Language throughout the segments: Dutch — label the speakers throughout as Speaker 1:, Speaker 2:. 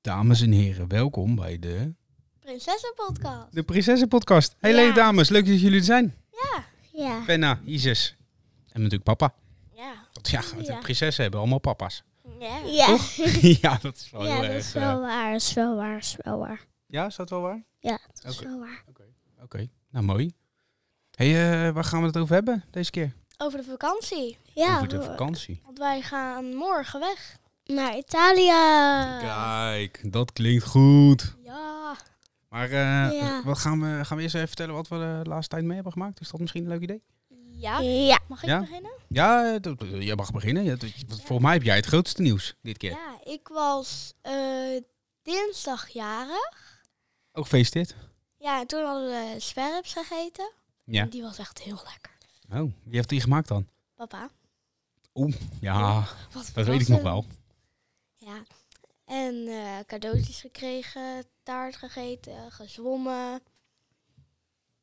Speaker 1: Dames en heren, welkom bij de,
Speaker 2: Prinsessenpodcast.
Speaker 1: de Prinsessenpodcast. Hey,
Speaker 2: Ja.
Speaker 1: leuke dames, leuk dat jullie er zijn.
Speaker 2: Ja. Ja.
Speaker 1: Penna, Isis en natuurlijk papa.
Speaker 2: Ja.
Speaker 1: Want ja, want de
Speaker 2: Ja.
Speaker 1: prinsessen hebben allemaal papa's.
Speaker 2: Ja.
Speaker 3: Ja,
Speaker 1: ja, dat is wel
Speaker 3: ja
Speaker 1: heel
Speaker 3: dat
Speaker 1: erg.
Speaker 3: is
Speaker 1: eh,
Speaker 3: wel waar, is wel waar, is wel waar.
Speaker 1: Ja, is dat wel waar?
Speaker 3: Ja, dat is
Speaker 1: Oké.
Speaker 3: wel waar.
Speaker 1: Oké, nou mooi. Hey, eh, waar gaan we het over hebben deze keer?
Speaker 2: Over de vakantie.
Speaker 3: Ja,
Speaker 1: over de
Speaker 3: we-
Speaker 1: vakantie.
Speaker 2: Want wij gaan morgen weg.
Speaker 3: naar Italië. eh.
Speaker 1: Kijk, dat klinkt goed.
Speaker 2: Ja.
Speaker 1: Maar eh,
Speaker 3: Ja.
Speaker 1: wat gaan, we, gaan we eerst even vertellen wat we de laatste tijd mee hebben gemaakt? Is dat misschien een leuk idee?
Speaker 2: Ja.
Speaker 3: Ja,
Speaker 2: Mag ik
Speaker 1: Ja?
Speaker 2: beginnen?
Speaker 1: Ja, dat- jij mag beginnen. Ja, dat- Volgens mij heb jij het grootste nieuws dit keer.
Speaker 2: Ja. Ik was eh, dinsdag jaren.
Speaker 1: Ook gefeliciteerd.
Speaker 2: Ja, en toen hadden we sperps gegeten.
Speaker 1: Ja.
Speaker 2: En die was echt heel lekker.
Speaker 1: Oh, wie heeft die gemaakt dan?
Speaker 2: Papa.
Speaker 1: Ja,
Speaker 2: Wat
Speaker 1: dat weet ik nog wel.
Speaker 2: Ja. En eh, cadeautjes gekregen, taart gegeten, gezwommen.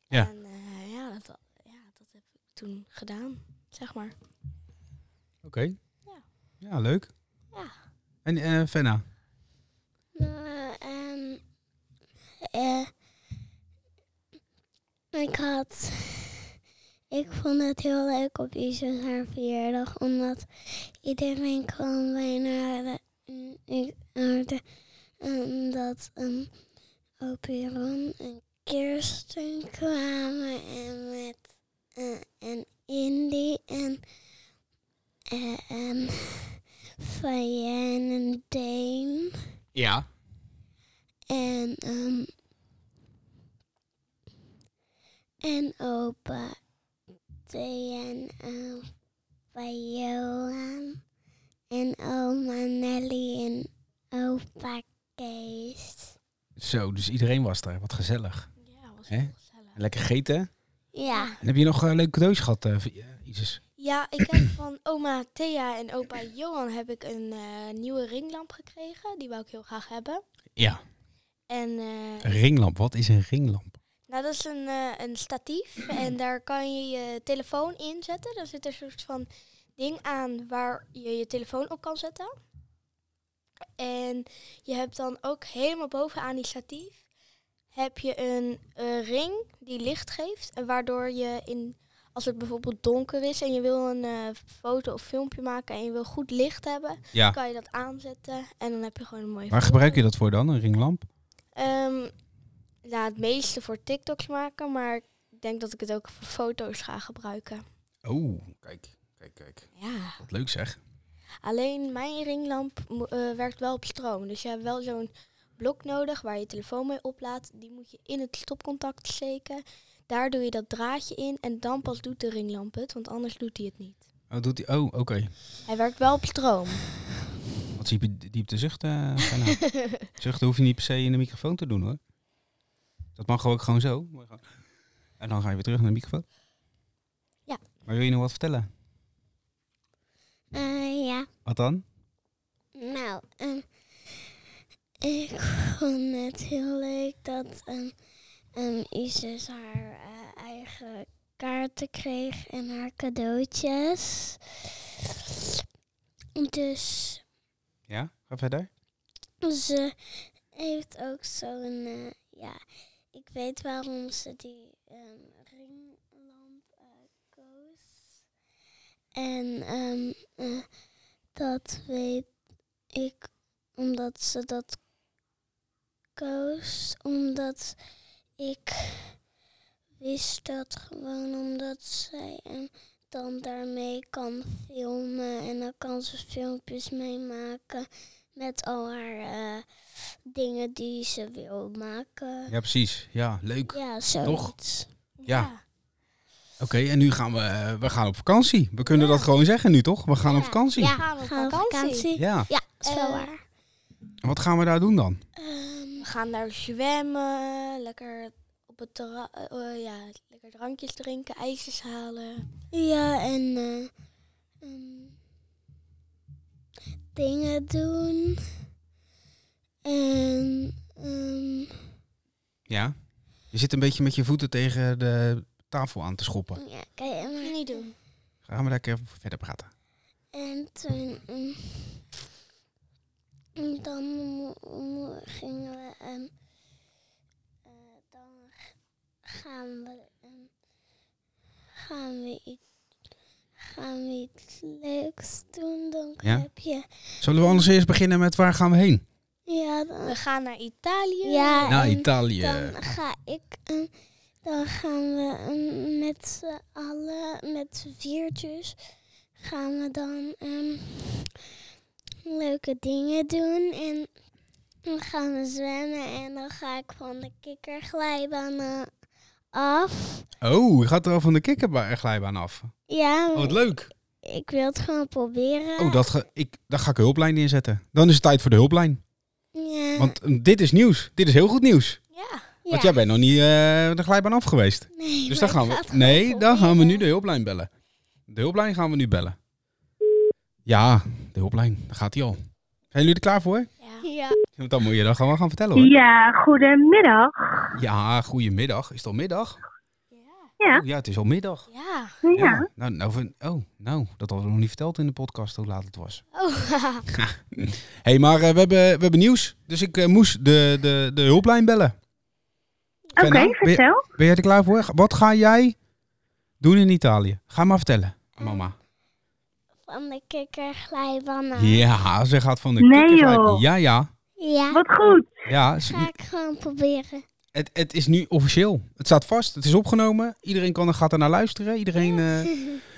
Speaker 1: Ja.
Speaker 2: En eh, ja, dat, ja, dat heb ik toen gedaan, zeg maar.
Speaker 1: Oké.
Speaker 2: Ja.
Speaker 1: Ja, leuk.
Speaker 2: Ja.
Speaker 1: En eh Fenna?
Speaker 3: nou, ehm, eh, ik had, ik vond het heel leuk op Isis haar verjaardag, omdat iedereen kwam bijna naar de- ik hoorde, ehm, dat um, Operon en Kirsten kwamen en met eh, en Indy en eh, en Fayen en Dame.
Speaker 1: Ja.
Speaker 3: En, ehm en opa Thea en opa Johan. En oma Nelly en opa Kees.
Speaker 1: Zo, dus iedereen was daar. Wat gezellig.
Speaker 2: Ja, was
Speaker 1: Hè?
Speaker 2: heel gezellig.
Speaker 1: En lekker gegeten. hè?
Speaker 3: Ja.
Speaker 1: En heb je nog eh, leuke cadeaus gehad, eh, voor- eh, Isis?
Speaker 2: Ja, ik heb van oma Thea en opa Johan heb ik een eh, nieuwe ringlamp gekregen. Die wou ik heel graag hebben.
Speaker 1: Ja.
Speaker 2: En eh,
Speaker 1: Een ringlamp. Wat is een ringlamp?
Speaker 2: nou, dat is een, eh, een statief. En daar kan je je telefoon in zetten. Daar zit een soort van ding aan waar je je telefoon op kan zetten. En je hebt dan ook helemaal bovenaan die statief heb je een eh, ring die licht geeft. En waardoor je in, als het bijvoorbeeld donker is en je wil een eh, foto of filmpje maken en je wil goed licht hebben,
Speaker 1: Ja.
Speaker 2: kan je dat aanzetten en dan heb je gewoon een mooie
Speaker 1: Waar
Speaker 2: foto.
Speaker 1: gebruik je dat voor dan, een ringlamp?
Speaker 2: Ehm, nou, het meeste voor TikToks maken, maar ik denk dat ik het ook voor foto's ga gebruiken.
Speaker 1: Oh, kijk. Kijk, kijk.
Speaker 2: Ja.
Speaker 1: Wat leuk zeg.
Speaker 2: Alleen mijn ringlamp mo- eh, werkt wel op stroom. Dus je hebt wel zo'n blok nodig waar je telefoon mee oplaadt. Die moet je in het stopcontact steken. Daar doe je dat draadje in en dan pas doet de ringlamp het, want anders doet hij het niet.
Speaker 1: Oh, doet die... oh oké.
Speaker 2: Hij werkt wel op stroom.
Speaker 1: Wat diep, diepte zuchten, Fenna? zuchten hoef je niet per se in de microfoon te doen hoor. Dat mag ook gewoon zo. Moet je gewoon- En dan ga je weer terug naar de microfoon.
Speaker 2: Ja.
Speaker 1: Maar wil je nog wat vertellen?
Speaker 3: Eh, ja.
Speaker 1: Wat dan?
Speaker 3: Nou, ehm, ik vond het heel leuk dat ehm ehm, Isis haar eh, eigen kaarten kreeg en haar cadeautjes. Dus
Speaker 1: Ja, ga verder.
Speaker 3: ze heeft ook zo'n, eh, ja, ik weet waarom ze die ehm, ringlamp eh, koos. En ehm, eh, dat weet ik omdat ze dat koos, omdat ik wist dat gewoon omdat zij hem dan daarmee kan filmen en dan kan ze filmpjes mee maken met al haar eh, dingen die ze wil maken.
Speaker 1: Ja, precies. Ja, leuk.
Speaker 3: Ja, zoiets.
Speaker 1: Ja. Oké, en nu gaan we, eh, we gaan op vakantie. We kunnen dat gewoon zeggen nu toch? We gaan op vakantie.
Speaker 2: We gaan op
Speaker 3: Gaan we
Speaker 2: vakantie.
Speaker 1: Ja.
Speaker 3: Ja, dat is wel
Speaker 2: Eh,
Speaker 3: waar.
Speaker 1: En Wat gaan we daar doen dan?
Speaker 3: Ehm,
Speaker 2: We gaan daar zwemmen, lekker op het terra- eh, eh, ja, lekker drankjes drinken, ijsjes halen.
Speaker 3: ja, en eh, ehm, dingen doen. En ehm,
Speaker 1: Ja. Je zit een beetje met je voeten tegen de tafel aan te schoppen.
Speaker 3: ja, kijk, maar-
Speaker 2: Niet doen.
Speaker 1: Gaan we daar even verder praten.
Speaker 3: En toen. mm, en dan mo- mo- gingen we. ehm, eh, dan g- gaan we. ehm, gaan we iets. Gaan we iets leuks doen? Dan
Speaker 1: Ja?
Speaker 3: heb je.
Speaker 1: Zullen we anders eerst beginnen met waar gaan we heen?
Speaker 3: Ja, dan
Speaker 2: We gaan naar Italië.
Speaker 3: Ja,
Speaker 1: Naar
Speaker 3: en
Speaker 1: Italië.
Speaker 3: dan ga ik. ehm, dan gaan we ehm, met z'n allen, met z'n viertjes, gaan we dan ehm, leuke dingen doen. En dan gaan we zwemmen en dan ga ik van de kikkerglijbaan eh, af.
Speaker 1: Oh, je gaat er al van de kikkerglijbaan af.
Speaker 3: Ja,
Speaker 1: Oh, wat leuk.
Speaker 3: ik wil het gewoon proberen.
Speaker 1: Oh, dat ga, ik, daar ga ik een hulplijn neerzetten. Dan is het tijd voor de hulplijn.
Speaker 3: Ja,
Speaker 1: Want mm, dit is nieuws. Dit is heel goed nieuws.
Speaker 2: Ja.
Speaker 3: ja.
Speaker 1: Want jij bent nog niet eh, de glijbaan af geweest.
Speaker 3: Nee,
Speaker 1: Dus dan
Speaker 3: maar
Speaker 1: gaan
Speaker 3: ik ga het
Speaker 1: we.
Speaker 3: gewoon
Speaker 1: Nee, dan gaan we nu
Speaker 3: proberen.
Speaker 1: de hulplijn bellen. De hulplijn gaan we nu bellen. Ja, de hulplijn. Daar gaat hij al. Zijn jullie er klaar voor?
Speaker 2: Ja.
Speaker 3: Ja,
Speaker 1: Want dan moet je dat gewoon gaan vertellen hoor.
Speaker 4: Ja, goedemiddag.
Speaker 1: Ja, goedemiddag. Is het al middag?
Speaker 2: Ja.
Speaker 4: Ja,
Speaker 1: Oh, ja, het is al middag.
Speaker 2: Ja.
Speaker 4: ja.
Speaker 1: Nou, nou, vind- oh, nou, dat hadden we nog niet verteld in de podcast hoe laat het was.
Speaker 2: Oh,
Speaker 1: Hé, hey, maar eh, we, hebben, we hebben nieuws. Dus ik eh, moest de, de, de hulplijn bellen.
Speaker 4: Oké,
Speaker 1: Fenna, ben je-
Speaker 4: vertel.
Speaker 1: Ben jij er klaar voor? Wat ga jij doen in Italië? Ga maar vertellen, mama.
Speaker 3: van de kikkerglijbaan af.
Speaker 1: Ja, ze gaat van de
Speaker 4: Nee,
Speaker 1: kikkerlijp.
Speaker 4: joh.
Speaker 1: Ja, ja.
Speaker 3: Ja,
Speaker 4: Wat goed.
Speaker 1: Ja, ze-
Speaker 3: ga ik gewoon proberen.
Speaker 1: het, het is nu officieel. Het staat vast, het is opgenomen. Iedereen kan, er- gaat er naar luisteren. Iedereen, eh,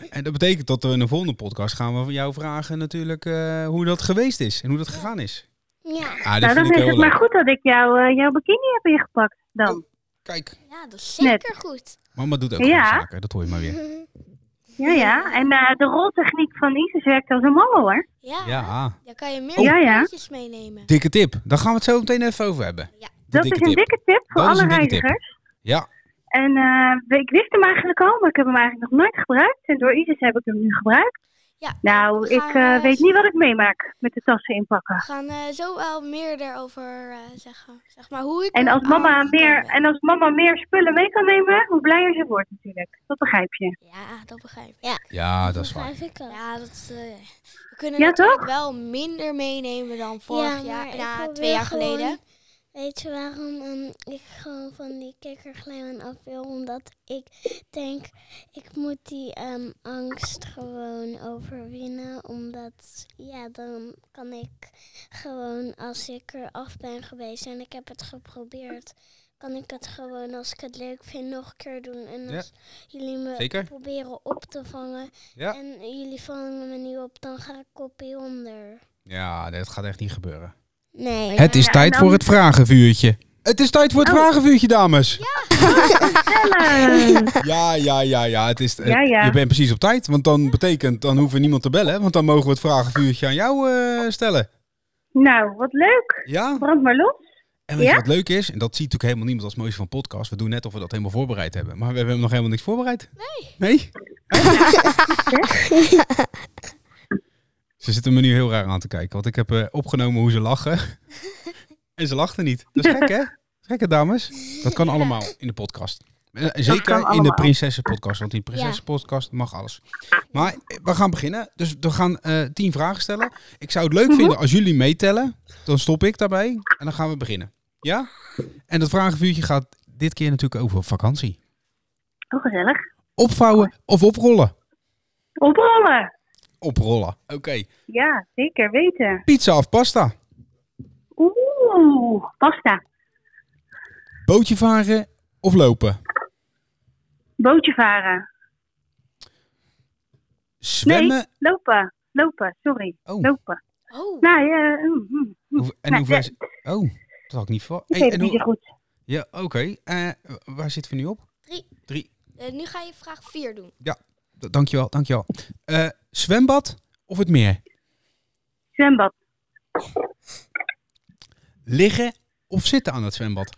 Speaker 1: en dat betekent dat we in de volgende podcast gaan we van jou vragen natuurlijk eh, hoe dat geweest is en hoe dat gegaan is.
Speaker 3: Ja,
Speaker 1: Ah, dit
Speaker 4: Nou, dan
Speaker 1: vind ik
Speaker 4: is
Speaker 1: heel
Speaker 4: het maar
Speaker 1: leuk.
Speaker 4: goed dat ik jou, eh, jouw bikini heb ingepakt dan.
Speaker 1: Kijk,
Speaker 2: ja, dat is zeker goed.
Speaker 1: mama doet ook
Speaker 4: Ja.
Speaker 1: goede zaken, dat hoor je maar weer.
Speaker 4: Ja, ja. En eh, de roltechniek van Isis werkt als een malle hoor.
Speaker 2: Ja.
Speaker 1: Ja,
Speaker 2: Dan kan je meer
Speaker 4: Ja, ja.
Speaker 2: dingetjes meenemen.
Speaker 1: dikke tip. Daar gaan we het zo meteen even over hebben.
Speaker 2: Ja.
Speaker 1: De
Speaker 4: Dat is een dikke tip voor
Speaker 1: Dat is
Speaker 4: alle
Speaker 1: een dikke tip.
Speaker 4: reizigers.
Speaker 1: Ja,
Speaker 4: En eh, ik wist hem eigenlijk al, maar ik heb hem eigenlijk nog nooit gebruikt. En door Isis heb ik hem nu gebruikt.
Speaker 2: Ja.
Speaker 4: Nou,
Speaker 2: We gaan,
Speaker 4: ik eh,
Speaker 2: eh,
Speaker 4: weet niet wat ik meemaak met de tassen inpakken.
Speaker 2: We gaan eh, zo wel meer erover eh, zeggen. Zeg maar hoe ik Oh,
Speaker 4: En
Speaker 2: er
Speaker 4: als, mama
Speaker 2: aan
Speaker 4: meer,
Speaker 2: gekomen ben.
Speaker 4: en als mama meer spullen mee kan nemen, hoe blijer ze wordt natuurlijk. Dat begrijp je.
Speaker 2: Ja, dat begrijp ik.
Speaker 1: ja dat is waar.
Speaker 3: begrijp ik ook.
Speaker 2: Ja, dat is, eh, we kunnen
Speaker 4: Ja,
Speaker 2: natuurlijk
Speaker 4: toch?
Speaker 2: wel minder meenemen dan
Speaker 3: Ja,
Speaker 2: vorig
Speaker 3: maar
Speaker 2: jaar,
Speaker 3: ik
Speaker 2: na
Speaker 3: probeer
Speaker 2: twee jaar
Speaker 3: gewoon-
Speaker 2: geleden.
Speaker 3: Weet je waarom ehm, ik gewoon van die kikkerglijbaan af wil? Omdat ik denk, ik moet die ehm, angst gewoon overwinnen. Omdat, ja, dan kan ik gewoon, als ik er af ben geweest en ik heb het geprobeerd, kan ik het gewoon, als ik het leuk vind, nog een keer doen. En
Speaker 1: Ja.
Speaker 3: als jullie me
Speaker 1: Zeker.
Speaker 3: proberen op te vangen
Speaker 1: Ja.
Speaker 3: en jullie vangen me niet op, dan ga ik kopie onder.
Speaker 1: Ja, dat gaat echt niet gebeuren.
Speaker 3: Nee.
Speaker 1: Het is
Speaker 4: Ja,
Speaker 1: tijd
Speaker 4: dan-
Speaker 1: voor het vragenvuurtje. Het is tijd voor het
Speaker 4: Oh.
Speaker 1: vragenvuurtje, dames.
Speaker 4: Hallo.
Speaker 1: Ja, ja, ja, ja. Het is, eh,
Speaker 4: Ja, ja.
Speaker 1: Je bent precies op tijd. Want dan betekent, dan hoeven we niemand te bellen. Want dan mogen we het vragenvuurtje aan jou eh, stellen.
Speaker 4: nou, wat leuk.
Speaker 1: Ja?
Speaker 4: Brand maar los.
Speaker 1: En weet je
Speaker 4: Ja?
Speaker 1: wat leuk is? En dat ziet natuurlijk helemaal niemand als het mooiste van podcast. We doen net of we dat helemaal voorbereid hebben. Maar we hebben nog helemaal niks voorbereid. Nee. Nee? ze zitten me nu heel raar aan te kijken. Want ik heb eh, opgenomen hoe ze lachen. en ze lachten niet. Dat is gek, hè? Dat is gek, hè, dames? Dat kan allemaal in de podcast. Eh, Zeker in de
Speaker 4: allemaal.
Speaker 1: Prinsessenpodcast. Want in de Prinsessenpodcast mag alles. Maar eh, we gaan beginnen. Dus we gaan eh, tien vragen stellen. Ik zou het leuk vinden als jullie meetellen. Dan stop ik daarbij en dan gaan we beginnen. Ja? En dat vragenvuurtje gaat dit keer natuurlijk over vakantie.
Speaker 4: Hoe Oh, gezellig.
Speaker 1: Opvouwen of oprollen?
Speaker 4: Oprollen.
Speaker 1: Oprollen. Oké.
Speaker 4: Ja, zeker weten.
Speaker 1: Pizza of pasta?
Speaker 4: Oeh, pasta.
Speaker 1: Bootje varen of lopen?
Speaker 4: Bootje varen.
Speaker 1: Zwemmen?
Speaker 4: Nee, lopen. Lopen, sorry.
Speaker 1: Oh.
Speaker 4: Lopen.
Speaker 2: Oh,
Speaker 4: Nou, ja, mm, mm.
Speaker 1: Hoe- en
Speaker 4: Nou,
Speaker 1: hoe ver...
Speaker 4: ja.
Speaker 1: is- Oh, dat had ik niet voor.
Speaker 4: ik
Speaker 1: Hey,
Speaker 4: weet
Speaker 1: en
Speaker 4: het niet zo
Speaker 1: hoe-
Speaker 4: goed.
Speaker 1: Ja, oké. Eh, waar zitten we nu op?
Speaker 2: Drie.
Speaker 1: Drie.
Speaker 2: eh, nu ga je vraag 4 doen.
Speaker 1: D- dankjewel, dankjewel. Eh zwembad of het meer?
Speaker 4: Zwembad.
Speaker 1: Liggen of zitten aan het zwembad?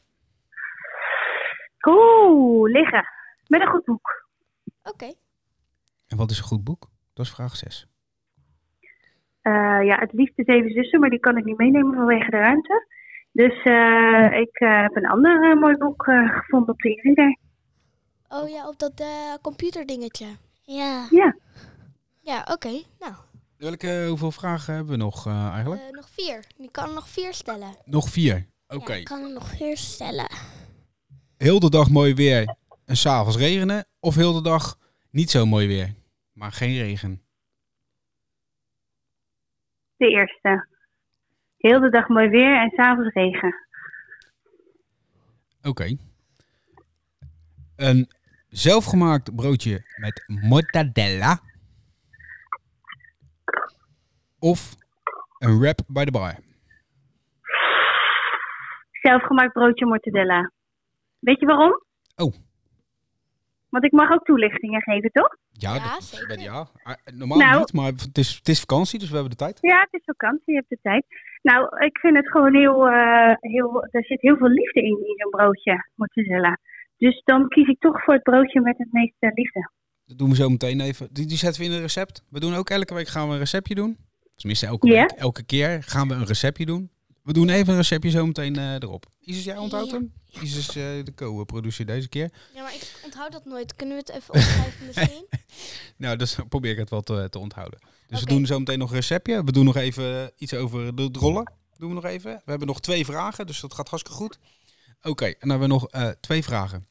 Speaker 4: Oeh, liggen. Met een goed boek.
Speaker 2: Oké.
Speaker 1: En wat is een goed boek? Dat is vraag 6.
Speaker 4: Eh, ja, het liefst de Zeven Zussen, maar die kan ik niet meenemen vanwege de ruimte. Dus eh, ik eh, heb een ander eh, mooi boek eh, gevonden op de e-reader.
Speaker 2: Oh ja, op dat eh computerdingetje.
Speaker 3: Ja.
Speaker 4: Ja,
Speaker 2: Ja, oké. Nou,
Speaker 1: Welke, hoeveel vragen hebben we nog eh, eigenlijk?
Speaker 2: Eh, nog vier. Je kan er nog vier stellen.
Speaker 1: Nog vier. Oké.
Speaker 3: Ik kan er nog vier stellen.
Speaker 1: Heel de dag mooi weer en s'avonds regenen. Of heel de dag niet zo mooi weer, maar geen regen.
Speaker 4: De eerste. Heel de dag mooi weer en s'avonds regen.
Speaker 1: Oké. Een zelfgemaakt broodje met mortadella. Of een wrap bij de bar.
Speaker 4: Zelfgemaakt broodje mortadella. Weet je waarom?
Speaker 1: Oh.
Speaker 4: Want ik mag ook toelichtingen geven, toch?
Speaker 1: Ja,
Speaker 2: Ja,
Speaker 1: dat is-
Speaker 2: zeker.
Speaker 1: ja. Ah, normaal
Speaker 4: Nou.
Speaker 1: niet, maar het is, het is vakantie, dus we hebben de tijd.
Speaker 4: Ja, het is vakantie, je hebt de tijd. Nou, ik vind het gewoon heel, eh, heel... Er zit heel veel liefde in, in zo'n broodje mortadella. Dus dan kies ik toch voor het broodje met het meeste liefde.
Speaker 1: Dat doen we zo meteen even. Die, die zetten we in een recept. We doen ook elke week gaan we een receptje doen. Tenminste, elke,
Speaker 4: Ja.
Speaker 1: week, elke keer gaan we een receptje doen. We doen even een receptje zo meteen eh, erop. Isis, jij onthoudt
Speaker 3: Ja.
Speaker 1: hem? Isis, eh, de co-producer deze keer.
Speaker 2: Ja, maar ik onthoud dat nooit. Kunnen we het even opschrijven misschien?
Speaker 1: Nou, dus probeer ik het wel te, te onthouden. Dus we
Speaker 2: Oké.
Speaker 1: doen zo meteen nog een receptje. We doen nog even iets over de rollen. Doen we nog even. We hebben nog twee vragen, dus dat gaat hartstikke goed. Oké, en dan hebben we nog eh, twee vragen.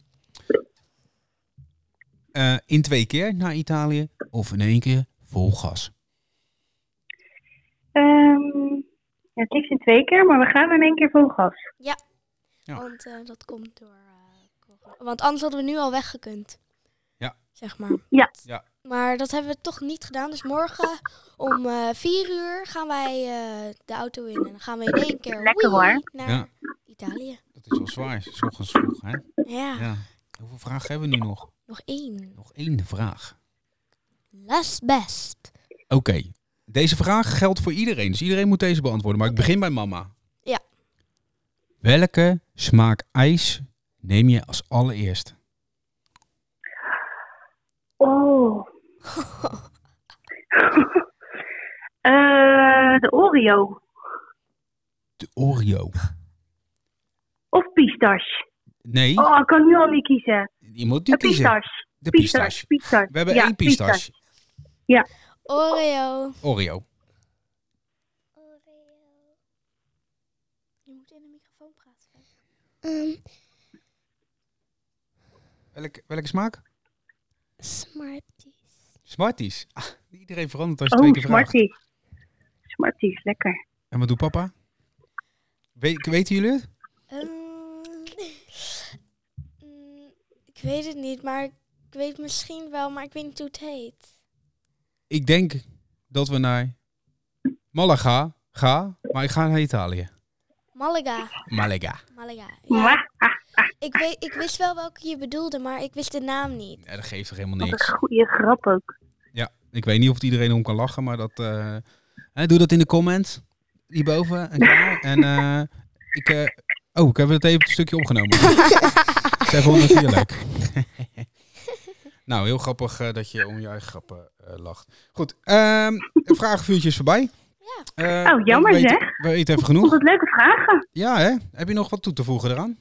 Speaker 1: Eh, in twee keer naar Italië of in één keer vol gas?
Speaker 4: Ehm, het liefst in twee keer, maar we gaan in één keer vol gas.
Speaker 1: Ja.
Speaker 2: Want eh, dat komt door. eh, corona. want anders hadden we nu al weggekund.
Speaker 1: Ja.
Speaker 2: Zeg maar.
Speaker 4: Ja.
Speaker 1: Ja.
Speaker 2: Maar dat hebben we toch niet gedaan. Dus morgen om eh vier uur gaan wij eh, de auto in. En dan gaan we in één keer
Speaker 4: Lekker,
Speaker 2: wee,
Speaker 4: hoor.
Speaker 2: naar
Speaker 1: Ja.
Speaker 2: Italië.
Speaker 1: Dat is wel zwaar, s ochtends vroeg. Hè?
Speaker 2: Ja.
Speaker 1: Ja. Hoeveel vragen hebben we nu nog?
Speaker 2: Nog één.
Speaker 1: Nog één vraag.
Speaker 2: Las best.
Speaker 1: Oké, deze vraag geldt voor iedereen, dus iedereen moet deze beantwoorden. Maar ik begin bij mama.
Speaker 2: Ja.
Speaker 1: Welke smaak ijs neem je als allereerst?
Speaker 4: Oh. Eh, de Oreo.
Speaker 1: De Oreo.
Speaker 4: Of pistache.
Speaker 1: Nee,
Speaker 4: Oh, ik kan nu al niet kiezen.
Speaker 1: je moet
Speaker 4: De
Speaker 1: nu kiezen.
Speaker 4: pistache.
Speaker 1: De
Speaker 4: Pistache.
Speaker 1: pistache.
Speaker 4: pistache.
Speaker 1: We hebben
Speaker 4: Ja,
Speaker 1: één pistache.
Speaker 2: Oreo.
Speaker 1: Oreo.
Speaker 2: Je moet in de microfoon praten.
Speaker 3: Ehm,
Speaker 1: Welke, welke smaak?
Speaker 3: Smarties.
Speaker 1: Smarties. Ah, iedereen verandert als je twee
Speaker 4: Oh,
Speaker 1: keer vraagt.
Speaker 4: Smarties. Smarties, lekker.
Speaker 1: En wat doet papa? We- weten jullie het?
Speaker 2: Ehm, mm, ik weet het niet, maar ik weet misschien wel, maar ik weet niet hoe het heet.
Speaker 1: Ik denk dat we naar Malaga gaan, maar ik ga naar Italië.
Speaker 2: Malaga.
Speaker 1: Malaga.
Speaker 2: Malaga. Ja,
Speaker 4: Ja, ah,
Speaker 2: ik, weet, ik wist wel welke je bedoelde, maar ik wist de naam niet.
Speaker 1: Ja, dat geeft toch helemaal
Speaker 4: wat een
Speaker 1: niks.
Speaker 4: goede grap ook.
Speaker 1: Ja, ik weet niet of het iedereen om kan lachen, maar dat. eh, hè, doe dat in de comments. Hierboven. En, klaar. en eh, ik. eh, oh, ik heb het even een stukje opgenomen. Zij vonden het hier leuk. nou, heel grappig eh, dat je om je eigen grappen eh, lacht. Goed, ehm het vragenvuurtje is voorbij. Eh,
Speaker 4: Oh, jammer
Speaker 1: we weten,
Speaker 4: zeg.
Speaker 1: We weten even
Speaker 4: Vond
Speaker 1: genoeg.
Speaker 4: het leuke vragen.
Speaker 1: Ja, hè? Heb je nog wat toe te voegen eraan?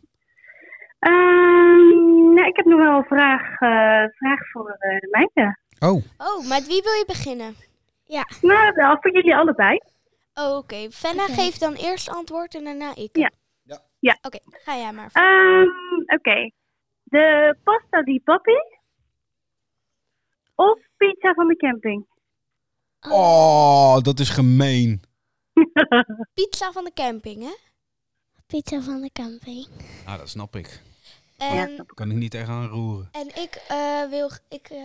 Speaker 4: Ehm, nou, ik heb nog wel een vraag, eh, vraag voor eh, de meiden.
Speaker 1: Oh,
Speaker 2: Oh, met wie wil je beginnen?
Speaker 4: Nou, wel voor jullie allebei.
Speaker 2: Oh, oké. Fenna
Speaker 3: Oké.
Speaker 2: geeft dan eerst antwoord en daarna ik.
Speaker 4: Ja.
Speaker 1: Ja.
Speaker 4: Ja.
Speaker 2: Oké, ga jij maar.
Speaker 4: Ehm, Oké. De pasta di papi. Of pizza van de camping.
Speaker 1: oh dat is gemeen.
Speaker 2: Pizza van de camping, hè?
Speaker 3: Pizza van de camping.
Speaker 1: Ah, dat snap ik.
Speaker 2: En,
Speaker 1: Kan ik niet tegenaan roeren.
Speaker 2: en ik eh, wil g- ik, eh,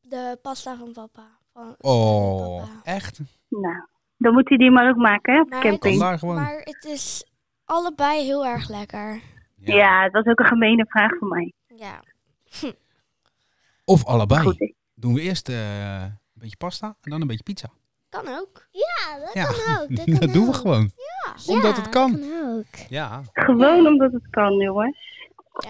Speaker 2: de pasta van papa. Van,
Speaker 1: Oh,
Speaker 2: Papa.
Speaker 1: echt?
Speaker 4: Nou, dan moet hij die maar ook maken, hè, op de
Speaker 2: Maar
Speaker 1: Kan
Speaker 4: camping.
Speaker 1: daar gewoon.
Speaker 2: Maar het is allebei heel erg lekker.
Speaker 1: Ja.
Speaker 4: Ja, dat was ook een gemene vraag voor mij.
Speaker 2: Ja.
Speaker 1: Of allebei.
Speaker 4: Goed. ik-
Speaker 1: Doen we eerst eh, een beetje pasta en dan een beetje pizza.
Speaker 2: Kan ook.
Speaker 3: Ja, dat
Speaker 1: Ja.
Speaker 3: kan ook. Dat,
Speaker 1: Dat,
Speaker 3: kan
Speaker 1: doen we
Speaker 3: ook.
Speaker 1: gewoon. Omdat het kan.
Speaker 3: Dat kan ook.
Speaker 1: Ja.
Speaker 4: Gewoon omdat het kan, jongens.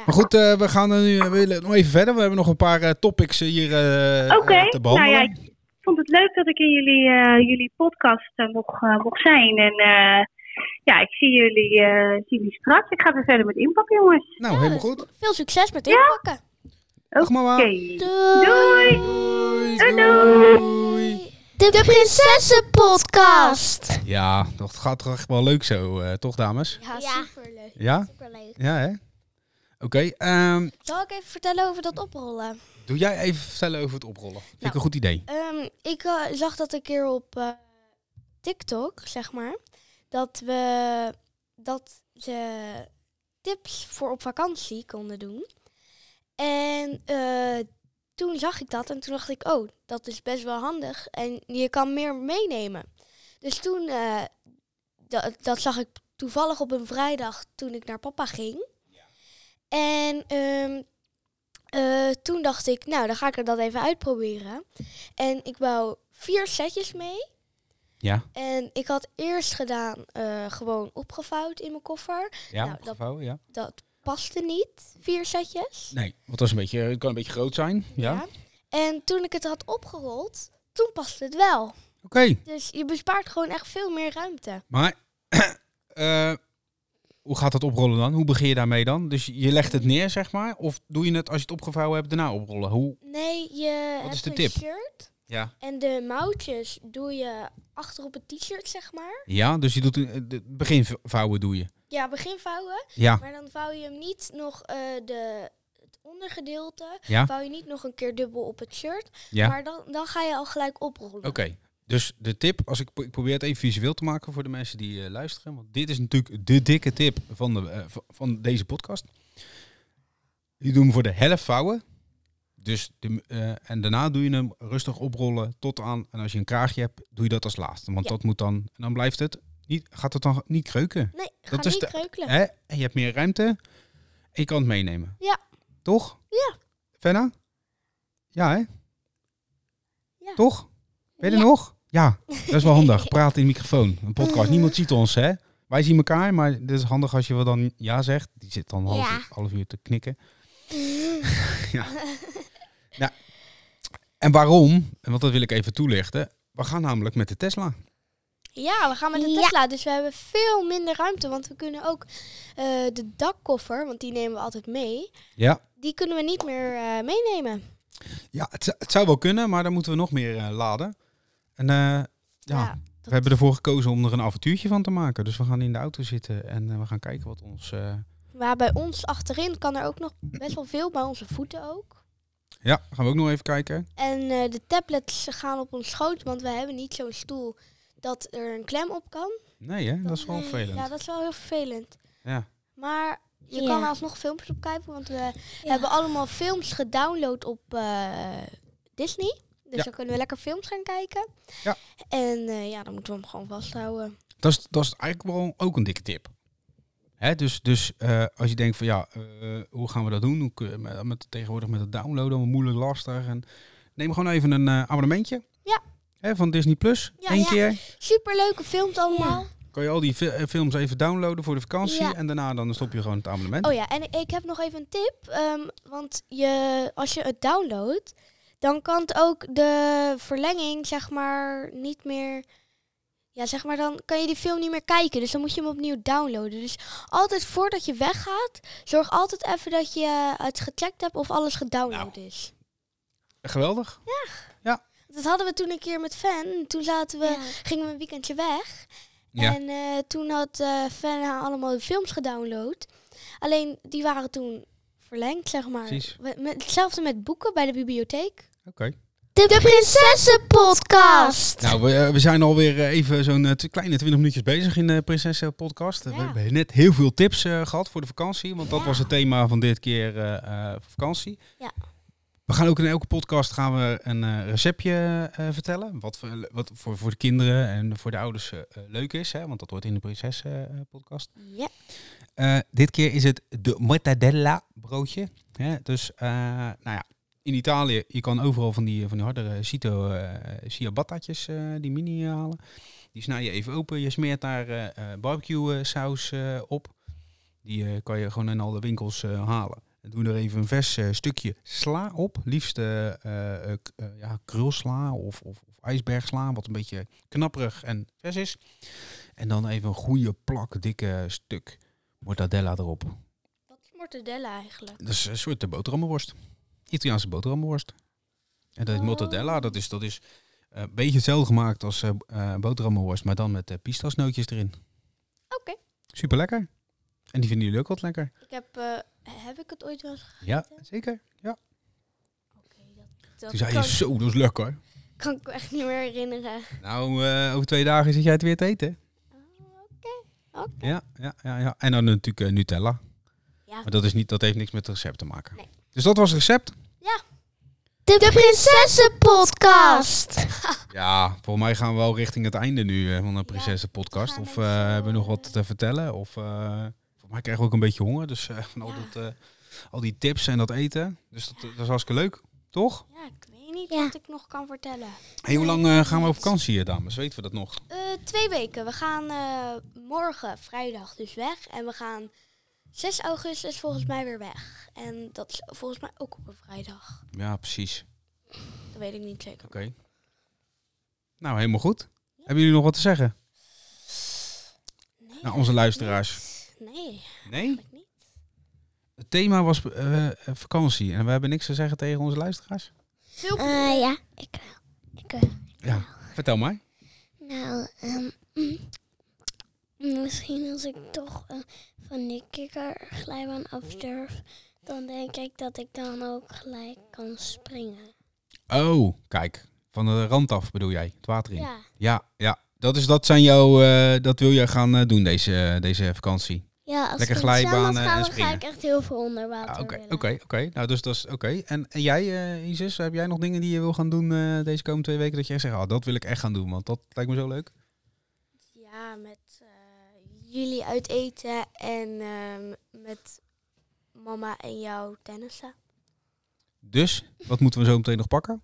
Speaker 1: Maar goed, eh, we gaan er nu we willen nog even verder. We hebben nog een paar eh, topics eh, hier eh,
Speaker 4: Oké,
Speaker 1: eh, te
Speaker 4: nou
Speaker 1: behandelen.
Speaker 4: ja, ik vond het leuk dat ik in jullie, eh, jullie podcast eh, mocht, eh, mocht zijn. En eh, ja, ik zie jullie, eh, ik zie jullie straks. Ik ga weer verder met inpakken, jongens.
Speaker 1: Nou, helemaal goed.
Speaker 2: Veel succes met inpakken.
Speaker 1: Dag mama.
Speaker 4: Oké.
Speaker 2: Doei.
Speaker 4: Doei.
Speaker 1: Doei.
Speaker 4: Doei.
Speaker 1: doei.
Speaker 3: De Prinsessenpodcast.
Speaker 1: Ja, dat gaat toch echt wel leuk zo, eh, toch dames?
Speaker 2: Ja,
Speaker 3: Ja.
Speaker 2: superleuk.
Speaker 1: Ja?
Speaker 3: Superleuk.
Speaker 1: Ja, hè? Oké, ehm,
Speaker 2: Zal ik even vertellen over dat oprollen?
Speaker 1: doe jij even vertellen over het oprollen. Vind ik
Speaker 2: Nou.
Speaker 1: een goed idee.
Speaker 2: Ehm, ik eh, zag dat een keer op eh, TikTok, zeg maar. Dat we dat ze tips voor op vakantie konden doen. En eh, toen zag ik dat en toen dacht ik, oh, dat is best wel handig. En je kan meer meenemen. Dus toen, eh, dat, dat zag ik toevallig op een vrijdag toen ik naar papa ging. En ehm, eh, toen dacht ik, nou, dan ga ik er dat even uitproberen. En ik wou vier setjes mee.
Speaker 1: Ja,
Speaker 2: En ik had eerst gedaan eh, gewoon opgevouwd in mijn koffer.
Speaker 1: ja,
Speaker 2: Nou, dat-
Speaker 1: opgevouwen, ja.
Speaker 2: Dat paste niet, vier setjes.
Speaker 1: Nee, want dat is een beetje, het kan een beetje groot zijn. Ja. Oké,
Speaker 2: En toen ik het had opgerold, toen paste het wel. Dus je bespaart gewoon echt veel meer ruimte.
Speaker 1: maar eh, hoe gaat dat oprollen dan? Hoe begin je daarmee dan? Dus je legt het neer, zeg maar? Of doe je het als je het opgevouwen hebt, daarna oprollen? Hoe?
Speaker 2: Nee, je
Speaker 1: Wat
Speaker 2: hebt
Speaker 1: is de
Speaker 2: een
Speaker 1: tip?
Speaker 2: shirt.
Speaker 1: Ja.
Speaker 2: En de mouwtjes doe je achter op het t-shirt, zeg maar.
Speaker 1: Ja, dus je doet een- het begin vouwen doe je.
Speaker 2: Ja, begin vouwen.
Speaker 1: Ja,
Speaker 2: Maar dan vouw je hem niet nog eh, de, het ondergedeelte.
Speaker 1: Ja.
Speaker 2: Vouw je niet nog een keer dubbel op het shirt.
Speaker 1: ja.
Speaker 2: Maar dan, dan ga je al gelijk oprollen.
Speaker 1: Oké, dus de tip, als ik, ik probeer het even visueel te maken voor de mensen die eh, luisteren. Want dit is natuurlijk de dikke tip van, de, eh, van- van deze podcast. Je doet hem voor de helft vouwen. Dus de, eh, en daarna doe je hem rustig oprollen tot aan. En als je een kraagje hebt, doe je dat als laatste. Want
Speaker 2: Ja.
Speaker 1: dat moet dan. En dan blijft het. Niet, gaat het dan niet kreuken?
Speaker 2: Nee, ga
Speaker 1: Dat is
Speaker 2: niet
Speaker 1: de-
Speaker 2: kreukelen.
Speaker 1: Hè? En je hebt meer ruimte. En je kan het meenemen.
Speaker 2: Ja.
Speaker 1: Toch?
Speaker 2: Ja.
Speaker 1: Fenna? Ja, hè?
Speaker 2: Ja.
Speaker 1: Toch? Ben je er
Speaker 2: Ja.
Speaker 1: nog? Ja, dat is wel handig. Praat in de microfoon. Een
Speaker 2: Eh.
Speaker 1: podcast. Niemand ziet ons, hè? Wij zien elkaar, maar het is handig als je wel dan ja zegt. Die zit dan een half,
Speaker 3: Ja.
Speaker 1: half uur te knikken. ja. Nou, en waarom? Want dat wil ik even toelichten. We gaan namelijk met de Tesla.
Speaker 2: Ja, we gaan met de
Speaker 3: Ja.
Speaker 2: Tesla. Dus we hebben veel minder ruimte. Want we kunnen ook eh, de dakkoffer, want die nemen we altijd mee.
Speaker 1: Ja.
Speaker 2: Die kunnen we niet meer eh, meenemen.
Speaker 1: Ja, het, zou- het zou wel kunnen, maar dan moeten we nog meer eh, laden. En eh, ja, we
Speaker 2: dat-
Speaker 1: hebben ervoor gekozen om er een avontuurtje van te maken. Dus we gaan in de auto zitten en eh, we gaan kijken wat ons... eh,
Speaker 2: Maar bij ons achterin kan er ook nog best wel veel. Bij onze voeten ook.
Speaker 1: Ja, gaan we ook nog even kijken.
Speaker 2: En eh, de tablets gaan op ons schoot. Want we hebben niet zo'n stoel dat er een klem op kan.
Speaker 1: Nee hè, dat is wel
Speaker 2: Nee,
Speaker 1: vervelend.
Speaker 2: Ja, dat is wel heel vervelend.
Speaker 1: Ja.
Speaker 2: Maar je
Speaker 3: Ja.
Speaker 2: kan er alsnog filmpjes op kijken, want we hebben allemaal films gedownload op eh, Disney. Dus
Speaker 1: Ja.
Speaker 2: dan kunnen we lekker films gaan kijken.
Speaker 1: Ja.
Speaker 2: En eh, ja, dan moeten we hem gewoon vasthouden.
Speaker 1: Dat is, dat is eigenlijk wel ook een dikke tip. Hè, dus dus eh, als je denkt van ja, eh, hoe gaan we dat doen? Hoe, kun je met, met- tegenwoordig met het downloaden, allemaal moeilijk lastig. En neem gewoon even een eh, abonnementje
Speaker 2: Ja.
Speaker 1: hè, van Disney Plus.
Speaker 2: Ja,
Speaker 1: Eén
Speaker 2: ja.
Speaker 1: keer.
Speaker 2: Superleuke films allemaal.
Speaker 1: Kan je al die fi- eh, films even downloaden voor de vakantie.
Speaker 3: Ja.
Speaker 1: En daarna dan stop je gewoon het abonnement.
Speaker 2: Oh ja, en ik, ik heb nog even een tip. ehm, want je, als je het downloadt, dan kan het ook de verlenging, zeg maar, niet meer. Ja, zeg maar, dan kan je die film niet meer kijken. Dus dan moet je hem opnieuw downloaden. Dus altijd voordat je weggaat, zorg altijd even dat je het gecheckt hebt of alles gedownload is.
Speaker 1: Geweldig.
Speaker 2: Dat hadden we toen een keer met Fan. Toen zaten we, gingen we een weekendje weg. En eh, toen had eh Fenna allemaal de films gedownload. Alleen die waren toen verlengd, zeg maar.
Speaker 1: Precies.
Speaker 2: We- met- hetzelfde met boeken bij de bibliotheek.
Speaker 1: Oké.
Speaker 3: De Prinsessenpodcast.
Speaker 1: Nou, we, eh, we zijn alweer eh, even zo'n eh, tw- kleine 20 minuutjes bezig in de Prinsessen Podcast. We
Speaker 2: Ja.
Speaker 1: hebben net heel veel tips eh, gehad voor de vakantie, want dat
Speaker 2: Ja.
Speaker 1: was het thema van dit keer eh, eh, voor vakantie.
Speaker 2: Ja.
Speaker 1: We gaan ook in elke podcast gaan we een eh, receptje eh, vertellen. Wat, voor, wat voor, voor de kinderen en voor de ouders eh, eh, leuk is, hè, want dat hoort in de Prinsessen eh, Podcast.
Speaker 2: Ja.
Speaker 1: Eh, dit keer is het de mortadella broodje. Hè? Dus, eh, nou ja, in Italië, je kan overal van die, van die hardere cito, eh ciabattaatjes, eh, die mini eh, halen. Die snij je even open. Je smeert daar eh, eh, barbecue eh, saus eh, op. Die eh, kan je gewoon in alle winkels eh, halen. En doe er even een vers eh, stukje sla op. Liefst eh, eh, eh, k- eh, ja, krulsla of, of, of ijsbergsla, wat een beetje knapperig en vers is. En dan even een goede plak, dikke stuk mortadella erop.
Speaker 2: Wat is mortadella eigenlijk?
Speaker 1: Dat is een soort de boterhammenworst. Italiaanse boterhammenworst. En dat is
Speaker 2: Oh.
Speaker 1: mortadella, dat is, dat is eh, een beetje hetzelfde gemaakt als eh eh, boterhammenworst, maar dan met eh, pistasnootjes erin.
Speaker 2: Oké.
Speaker 1: Super lekker. En die vinden jullie ook wat lekker.
Speaker 2: Ik heb, eh, heb ik het ooit wel eens gegeten?
Speaker 1: Ja, zeker. Ja.
Speaker 2: Dat
Speaker 1: Toen zei je,
Speaker 2: kan,
Speaker 1: zo, dat is lekker.
Speaker 2: kan ik me echt niet meer herinneren.
Speaker 1: Nou, eh, over twee dagen zit jij het weer te eten.
Speaker 2: Oh, Oké. Oké.
Speaker 1: Ja, ja, ja. ja. En dan natuurlijk eh, Nutella.
Speaker 2: Ja.
Speaker 1: Maar dat, is niet, dat heeft niks met het recept te maken.
Speaker 2: Nee.
Speaker 1: Dus dat was het recept.
Speaker 3: De Prinsessenpodcast.
Speaker 1: Ja, volgens mij gaan we wel richting het einde nu eh, van de
Speaker 2: we
Speaker 1: Prinsessenpodcast.
Speaker 2: gaan
Speaker 1: Of
Speaker 2: een
Speaker 1: eh,
Speaker 2: beetje,
Speaker 1: hebben we nog wat te vertellen? Of eh, volgens mij krijgen we ook een beetje honger. Dus eh, van al,
Speaker 2: Ja.
Speaker 1: dat, eh, al die tips en dat eten. Dus dat, dat is hartstikke leuk, toch?
Speaker 2: Ja, ik weet niet
Speaker 3: Ja.
Speaker 2: wat ik nog kan vertellen.
Speaker 1: Hey, hoe lang eh, gaan we op vakantie, eh, dames? Weten we dat nog?
Speaker 2: Eh, twee weken. We gaan eh, morgen, vrijdag, dus weg. En we gaan 6 augustus volgens mij weer weg. En dat is volgens mij ook op een vrijdag.
Speaker 1: Ja, precies.
Speaker 2: Dat weet ik niet zeker.
Speaker 1: Oké. Nou, helemaal goed. Hebben jullie nog wat te zeggen?
Speaker 2: Nee,
Speaker 1: Nou, onze luisteraars.
Speaker 2: niet. Nee,
Speaker 1: Nee?
Speaker 2: eigenlijk niet.
Speaker 1: Het thema was eh, eh, vakantie. En we hebben niks te zeggen tegen onze luisteraars?
Speaker 2: Veel
Speaker 3: Eh, ja, ik wel. Ik wel.
Speaker 1: Ja. Vertel mij.
Speaker 3: Nou, ehm, mm, misschien als ik toch eh, van die kikkerglijbaan af durf, dan denk ik dat ik dan ook gelijk kan springen.
Speaker 1: Oh, kijk. Van de rand af bedoel jij. Het water in.
Speaker 3: Ja,
Speaker 1: Ja, ja. Dat, is, dat, zijn jouw, eh, dat wil jij gaan eh, doen deze, deze vakantie.
Speaker 3: ja als
Speaker 1: Lekker
Speaker 3: ik in het
Speaker 1: glijbanen
Speaker 3: zwembad ga,
Speaker 1: en
Speaker 3: dan ga ik
Speaker 1: springen.
Speaker 3: echt heel veel onder
Speaker 1: Ah,
Speaker 3: water
Speaker 1: Oké, oké,
Speaker 3: willen.
Speaker 1: oké. Nou, dus dat is oké. En, en jij, eh Isis, heb jij nog dingen die je wil gaan doen eh, deze komende twee weken? Dat jij zegt, ah, dat wil ik echt gaan doen, want dat lijkt me zo leuk.
Speaker 2: Ja, met eh, jullie uit eten en ehm, met mama en jou tennissen.
Speaker 1: Dus, wat moeten we zo meteen nog pakken?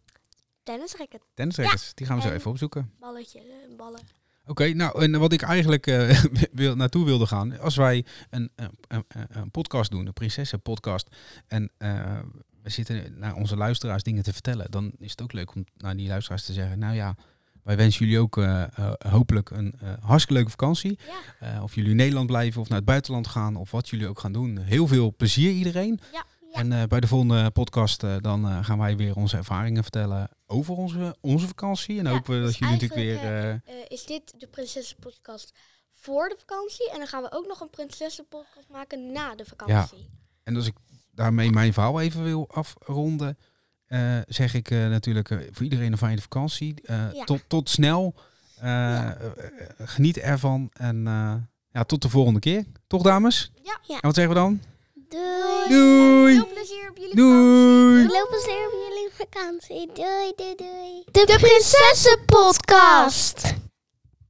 Speaker 2: Tennisracket,
Speaker 1: Tennisrackets, die gaan we zo
Speaker 2: en-
Speaker 1: even opzoeken.
Speaker 2: balletje, eh, ballen.
Speaker 1: Oké, nou, en wat ik eigenlijk eh, wil, naartoe wilde gaan, als wij een, een, een, een podcast doen, een prinsessenpodcast, en eh, we zitten naar onze luisteraars dingen te vertellen, dan is het ook leuk om naar die luisteraars te zeggen, nou ja, wij wensen jullie ook eh, eh, hopelijk een eh, hartstikke leuke vakantie.
Speaker 2: Ja.
Speaker 1: Eh, of jullie in Nederland blijven of naar het buitenland gaan, of wat jullie ook gaan doen. Heel veel plezier iedereen.
Speaker 2: Ja, ja.
Speaker 1: En eh, bij de volgende podcast eh, dan eh, gaan wij weer onze ervaringen vertellen over onze, onze vakantie. En
Speaker 2: Ja,
Speaker 1: hopen we
Speaker 2: dus
Speaker 1: dat jullie natuurlijk weer...
Speaker 2: eigenlijk,
Speaker 1: eh,
Speaker 2: Eh, is dit de prinsessenpodcast voor de vakantie? En dan gaan we ook nog een prinsessenpodcast maken na de vakantie.
Speaker 1: En als ik daarmee mijn verhaal even wil afronden, eh, zeg ik eh, natuurlijk eh, voor iedereen een fijne vakantie. Eh,
Speaker 3: Ja.
Speaker 1: tot, tot snel. Eh,
Speaker 3: Ja.
Speaker 1: eh, eh, Geniet ervan. En eh, ja, tot de volgende keer. Toch, dames?
Speaker 2: Ja.
Speaker 3: Ja.
Speaker 1: En wat zeggen we dan?
Speaker 3: Doei!
Speaker 1: Doei!
Speaker 2: Veel plezier op jullie
Speaker 1: Doei!
Speaker 3: Veel plezier op jullie vakantie. Doei, doei, doei. De Prinsessenpodcast.